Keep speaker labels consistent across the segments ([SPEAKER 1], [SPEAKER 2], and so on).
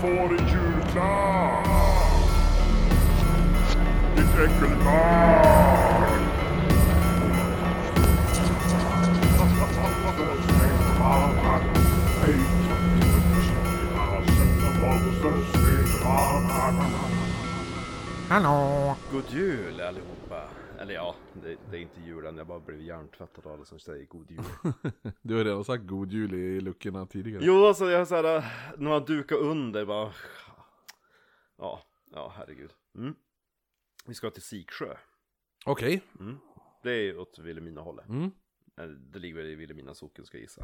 [SPEAKER 1] får i julklapp? Ditt äckelbarn!
[SPEAKER 2] Hallå!
[SPEAKER 3] God jul allihopa! Eller ja, det, det är inte julen, jag bara blev hjärntvättad av det som säger god jul.
[SPEAKER 2] Du har redan sagt god jul i luckorna tidigare.
[SPEAKER 3] jo, alltså jag såhär, när man dukar under bara... Ja, ja herregud. Mm. Vi ska till Siksjö.
[SPEAKER 2] Okej.
[SPEAKER 3] Det är ju åt Vilhelminahållet.
[SPEAKER 2] Mm.
[SPEAKER 3] Eller, Det ligger väl i Vilhelmina socken ska jag gissa.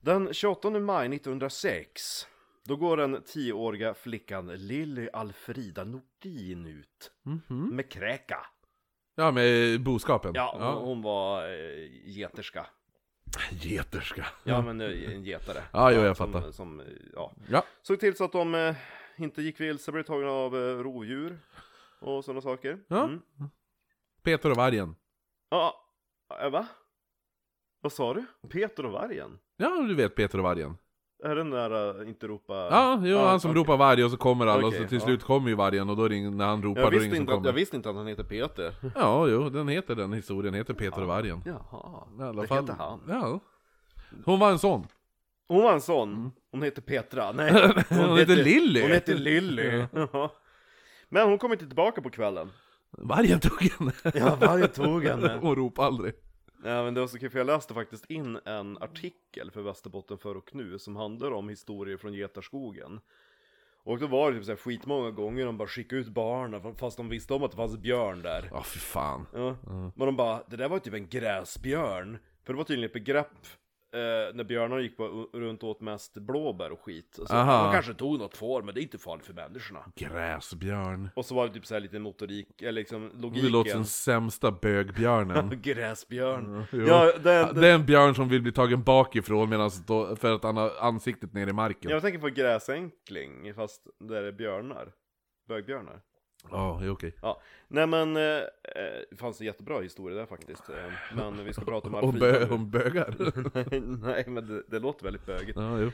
[SPEAKER 3] Den 28 maj 1906, då går den 10-åriga flickan Lilly Alfrida Nordin ut
[SPEAKER 2] Mhm.
[SPEAKER 3] med kräka.
[SPEAKER 2] Ja, med boskapen.
[SPEAKER 3] Ja, hon- hon var eh, geterska.
[SPEAKER 2] Geterska.
[SPEAKER 3] Ja men eh, en getare.
[SPEAKER 2] Ja, jo, jag
[SPEAKER 3] som,
[SPEAKER 2] fattar.
[SPEAKER 3] Som, eh, ja.
[SPEAKER 2] Ja.
[SPEAKER 3] Såg till så att de eh, inte gick vilse, blev tagna av eh, rovdjur och sådana saker.
[SPEAKER 2] Ja.
[SPEAKER 3] Mm.
[SPEAKER 2] Peter och vargen.
[SPEAKER 3] Ja, eh, va? Vad sa du? Peter och vargen?
[SPEAKER 2] Ja, du vet Peter och vargen.
[SPEAKER 3] Är den där eh, inte ropa...
[SPEAKER 2] Ja, jo, han som
[SPEAKER 3] okej.
[SPEAKER 2] ropar varg och så kommer alla och
[SPEAKER 3] Okej,
[SPEAKER 2] så till
[SPEAKER 3] ja.
[SPEAKER 2] slut kommer ju vargen och då ringer, när han ropar
[SPEAKER 3] Jag
[SPEAKER 2] då är det
[SPEAKER 3] visste,
[SPEAKER 2] ingen som
[SPEAKER 3] inte att, jag
[SPEAKER 2] kommer.
[SPEAKER 3] visste inte att han heter Peter.
[SPEAKER 2] Ja, jo, den heter den historien, heter Peter och vargen.
[SPEAKER 3] Jaha,
[SPEAKER 2] I alla
[SPEAKER 3] det
[SPEAKER 2] fall.
[SPEAKER 3] heter han.
[SPEAKER 2] Ja. Hon var en sån.
[SPEAKER 3] Hon var en sån. Hon heter Petra. Nej, hon,
[SPEAKER 2] Mm. Hon heter Lilly.
[SPEAKER 3] Hon heter Lilly. Jaha. Men hon kom inte tillbaka på kvällen.
[SPEAKER 2] Vargen tog henne.
[SPEAKER 3] Ja, vargen tog henne.
[SPEAKER 2] Hon ropade aldrig.
[SPEAKER 3] Ja, Eh, men det var så kul, för jag läste faktiskt in en artikel för Västerbotten förr och nu som handlar om historier från Getarskogen. Och då var det typ så här skitmånga gånger de bara skickade ut barnen fast de visste om att det fanns björn där.
[SPEAKER 2] Ja, Mm. fy fan.
[SPEAKER 3] Ja. Mm. Men de bara, det där var typ en gräsbjörn. För det var tydligen ett begrepp eh, när björnarna gick bara u- runt och åt mest blåbär och skit. Och så,
[SPEAKER 2] Aha.
[SPEAKER 3] de kanske tog något får, men det är inte farligt för människorna.
[SPEAKER 2] Gräsbjörn.
[SPEAKER 3] Och så var det typ så här lite motorik, eller liksom logiken.
[SPEAKER 2] Det låter som sämsta bögbjörnen.
[SPEAKER 3] Gräsbjörn.
[SPEAKER 2] Jo.
[SPEAKER 3] Ja, den,
[SPEAKER 2] Det är en björn som vill bli tagen bakifrån medan då, för att han har ansiktet ner i marken. Ja,
[SPEAKER 3] Jag tänker på gräsänkling, fast där är björnar. Bögbjörnar.
[SPEAKER 2] jo, okej.
[SPEAKER 3] Ja. Nej men, eh, eh, det fanns en jättebra historia där faktiskt. Eh, Men vi ska prata om
[SPEAKER 2] Om,
[SPEAKER 3] Alfrida
[SPEAKER 2] bö,
[SPEAKER 3] nu.
[SPEAKER 2] om bögar.
[SPEAKER 3] Nej men det, det låter väldigt bögigt.
[SPEAKER 2] ja, jo.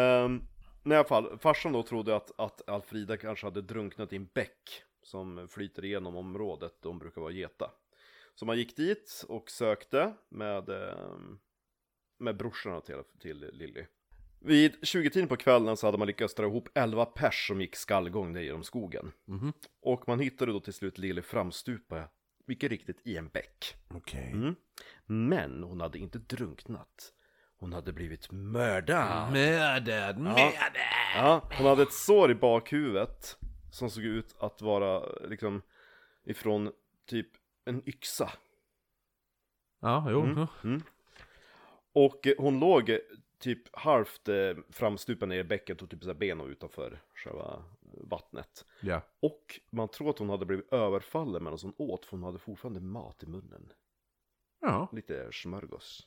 [SPEAKER 3] Um, I alla fall, farsan då trodde att, att Alfrida kanske hade drunknat i en bäck som flyter igenom området där hon brukar vara geta. Så man gick dit och sökte med, ehm, med brorsorna till, till Lilly. Vid 20-tiden på kvällen så hade man lyckats dra ihop 11 pers som gick skallgång ner genom skogen.
[SPEAKER 2] Mhm.
[SPEAKER 3] Och man hittade då till slut Lilly framstupa, mycket riktigt, i en bäck.
[SPEAKER 2] Okej.
[SPEAKER 3] Mm. Men hon hade inte drunknat. Hon hade blivit mördad.
[SPEAKER 2] Mördad, mördad!
[SPEAKER 3] Ja, hon hade ett sår i bakhuvudet som såg ut att vara liksom ifrån typ en yxa.
[SPEAKER 2] Ja, jo.
[SPEAKER 3] Mm.
[SPEAKER 2] jo.
[SPEAKER 3] Och eh, hon låg eh, typ halvt eh, framstupa ner i bäcken, tog typ så här ben och utanför själva vattnet.
[SPEAKER 2] Ja.
[SPEAKER 3] Och man tror att hon hade blivit överfallen medan hon åt, för hon hade fortfarande mat i munnen.
[SPEAKER 2] Ja,
[SPEAKER 3] Lite smörgås.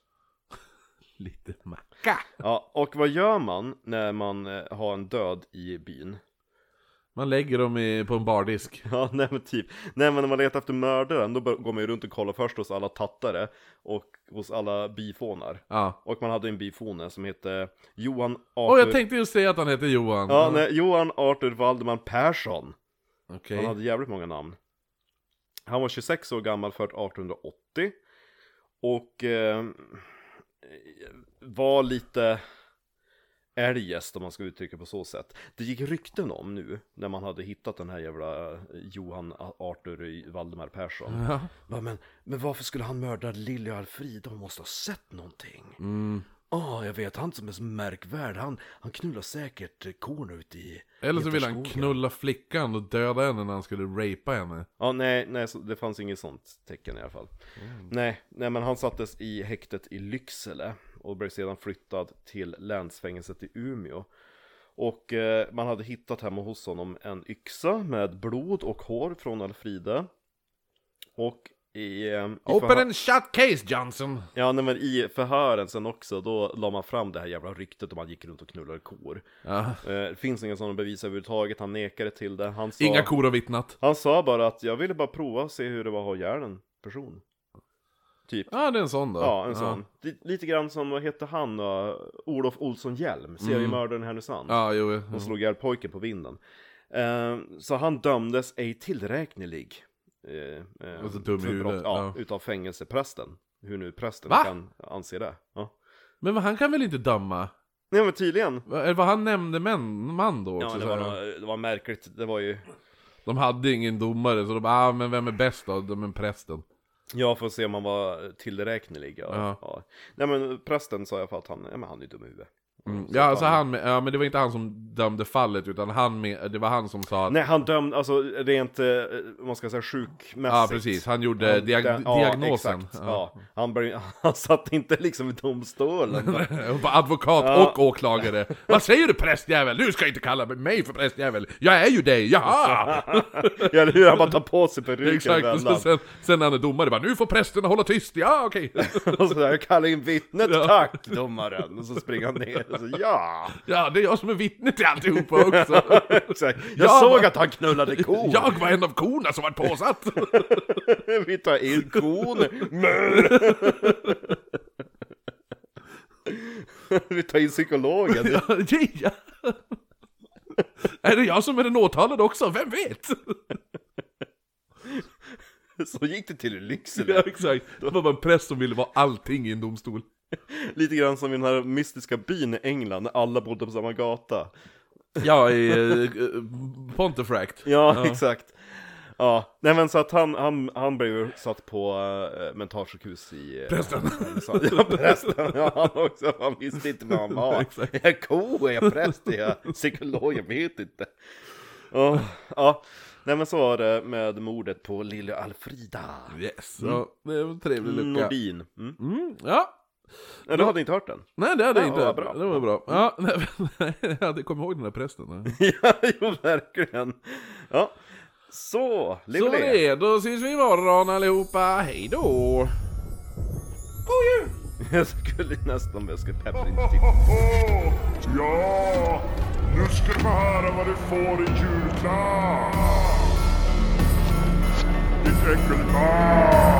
[SPEAKER 2] lite macka.
[SPEAKER 3] Ja, och vad gör man när man eh, har en död i byn?
[SPEAKER 2] Man lägger dem i, på en bardisk.
[SPEAKER 3] Ja, nej men typ. Nej men när man letar efter mördaren då bör- går man ju runt och kollar först hos alla tattare och hos alla bifånar.
[SPEAKER 2] Ja.
[SPEAKER 3] Och man hade en bifåne som hette Johan Arthur...
[SPEAKER 2] Åh, jag tänkte just säga att han heter Johan.
[SPEAKER 3] Ja, nej, Johan Arthur Valdemar Persson.
[SPEAKER 2] Okej.
[SPEAKER 3] Han hade jävligt många namn. Han var 26 år gammal, född 1880. Och eh, var lite eljest om man ska uttrycka på så sätt. Det gick rykten om nu, när man hade hittat den här jävla eh, Johan Arthur Valdemar Persson.
[SPEAKER 2] Ja.
[SPEAKER 3] Va, Men, men varför skulle han mörda Lilly och Alfrida? Hon måste ha sett någonting.
[SPEAKER 2] Mm.
[SPEAKER 3] Ah, jag vet, han som är så märkvärd, han, han knullar säkert eh, korn ute i...
[SPEAKER 2] Eller så vill han
[SPEAKER 3] Geterskogen.
[SPEAKER 2] knulla flickan och döda henne när han skulle rapa henne.
[SPEAKER 3] Ja, nej, nej, så det fanns inget sånt tecken i alla fall. Nej, nej, men han sattes i häktet i Lycksele och blev sedan flyttad till länsfängelset i Umeå. Och eh, man hade hittat hemma hos honom en yxa med blod och hår från Alfrida. Och i... Eh, i
[SPEAKER 2] Open
[SPEAKER 3] förhör-
[SPEAKER 2] and shut case Johnson!
[SPEAKER 3] Ja, nej, men i förhören sen också, då la man fram det här jävla ryktet om att han gick runt och knullade kor.
[SPEAKER 2] Ja.
[SPEAKER 3] Eh, det finns inga sådana bevis överhuvudtaget, han nekade till det. Han sa...
[SPEAKER 2] Inga kor har vittnat.
[SPEAKER 3] Han sa bara att jag ville bara prova och se hur det var att ha ihjäl en person. Typ.
[SPEAKER 2] Ja, det är en sån då.
[SPEAKER 3] Ja, en sån. Det- Lite grann som, vad hette han då? Olof Olsson Hjelm, seriemördaren i Härnösand.
[SPEAKER 2] Mm. Ja, jo. jo.
[SPEAKER 3] och slog ihjäl pojken på vinden. Eh, så han dömdes ej tillräknelig. Eh, eh,
[SPEAKER 2] Alltså dum i
[SPEAKER 3] för brott,
[SPEAKER 2] huvudet,
[SPEAKER 3] ja,
[SPEAKER 2] ja.
[SPEAKER 3] Utav fängelseprästen. Hur nu prästen
[SPEAKER 2] Va?
[SPEAKER 3] kan anse det. Ja.
[SPEAKER 2] Men vad- han kan väl inte döma?
[SPEAKER 3] Nej men tydligen.
[SPEAKER 2] Va- Eller var han nämndeman man då också?
[SPEAKER 3] Ja, det,
[SPEAKER 2] så
[SPEAKER 3] var,
[SPEAKER 2] här?
[SPEAKER 3] nå- det var märkligt. Det var ju...
[SPEAKER 2] De hade ingen domare, så de bara ah, men vem är bäst då? De är prästen.
[SPEAKER 3] Jag får se om han var tillräknelig. Ja.
[SPEAKER 2] Ja.
[SPEAKER 3] Ja. Nej men prästen sa jag för att han, ja, men han är ju dum i huvudet.
[SPEAKER 2] Mm.
[SPEAKER 3] Så
[SPEAKER 2] Ja,
[SPEAKER 3] att
[SPEAKER 2] alltså han, med- ja, men det var inte han som dömde fallet, utan han med, det var han som sa att
[SPEAKER 3] Nej han dömde, alltså rent, eh, vad man ska säga, sjukmässigt.
[SPEAKER 2] Ja, precis. Han gjorde
[SPEAKER 3] Han-
[SPEAKER 2] diag
[SPEAKER 3] den-
[SPEAKER 2] diagnosen.
[SPEAKER 3] Ja, exakt. Ja. Han, började, han satt inte liksom i domstolen.
[SPEAKER 2] Och bara advokat
[SPEAKER 3] Ja.
[SPEAKER 2] och åklagare. Vad säger du prästjävel? Du ska inte kalla mig för prästjävel. Jag är ju dig, jaha!
[SPEAKER 3] Ja, eller hur? Han bara tar på sig peruken och
[SPEAKER 2] Exakt, och
[SPEAKER 3] vändan.
[SPEAKER 2] så sen, sen när han är domare bara nu får prästerna hålla tyst, ja okej.
[SPEAKER 3] Och sådär, jag kallar in vittnet, tack domaren! Och så springer han ner och så, ja!
[SPEAKER 2] Ja, det är jag som är vittne till alltihopa också.
[SPEAKER 3] Exakt. Jag
[SPEAKER 2] Ja,
[SPEAKER 3] såg
[SPEAKER 2] va-
[SPEAKER 3] att han knullade kon!
[SPEAKER 2] Jag var en av korna som var påsatt.
[SPEAKER 3] Vi tar in kon! Vi tar in psykologen!
[SPEAKER 2] Ja, ja. Är det jag som är den åtalade också? Vem vet?
[SPEAKER 3] Så gick det till i
[SPEAKER 2] Ja,
[SPEAKER 3] Lycksele.
[SPEAKER 2] exakt. Det var bara en präst som ville vara allting i en domstol.
[SPEAKER 3] Lite grann som i den här mystiska byn i England, när alla bodde på samma gata.
[SPEAKER 2] Ja, i eh, Pontefract.
[SPEAKER 3] Ja, exakt. Ja, nej men så att han, han, han blev ju satt på äh, mentalsjukhus i... eh,
[SPEAKER 2] Prästen.
[SPEAKER 3] Så, ja, prästen, ja han också, han visste inte vad han var.
[SPEAKER 2] Exakt.
[SPEAKER 3] Är jag ko, är jag präst, är jag psykolog, jag vet inte. Ja, ja, nej men så var det med mordet på lille Alfrida
[SPEAKER 2] Yes, ja, det är en trevlig lucka.
[SPEAKER 3] Nordin. Mm.
[SPEAKER 2] Mm, ja,
[SPEAKER 3] Ja, du hade inte hört den?
[SPEAKER 2] nej det hade jag
[SPEAKER 3] Ja,
[SPEAKER 2] inte.
[SPEAKER 3] vad bra.
[SPEAKER 2] Det var bra. Ja, nej, nej, jag hade kommit ihåg den där prästen. ja.
[SPEAKER 3] ja, jo verkligen. Ja, så, lev
[SPEAKER 2] Så
[SPEAKER 3] och le.
[SPEAKER 2] det, då syns vi imorgon allihopa. Hej då!
[SPEAKER 1] God jul!
[SPEAKER 3] Jag skulle nästan om jag skulle peppra in
[SPEAKER 1] Ho,
[SPEAKER 3] till.
[SPEAKER 1] ho, ho! Ja, nu ska du få höra vad du får i julklapp! Ditt äckelbarn!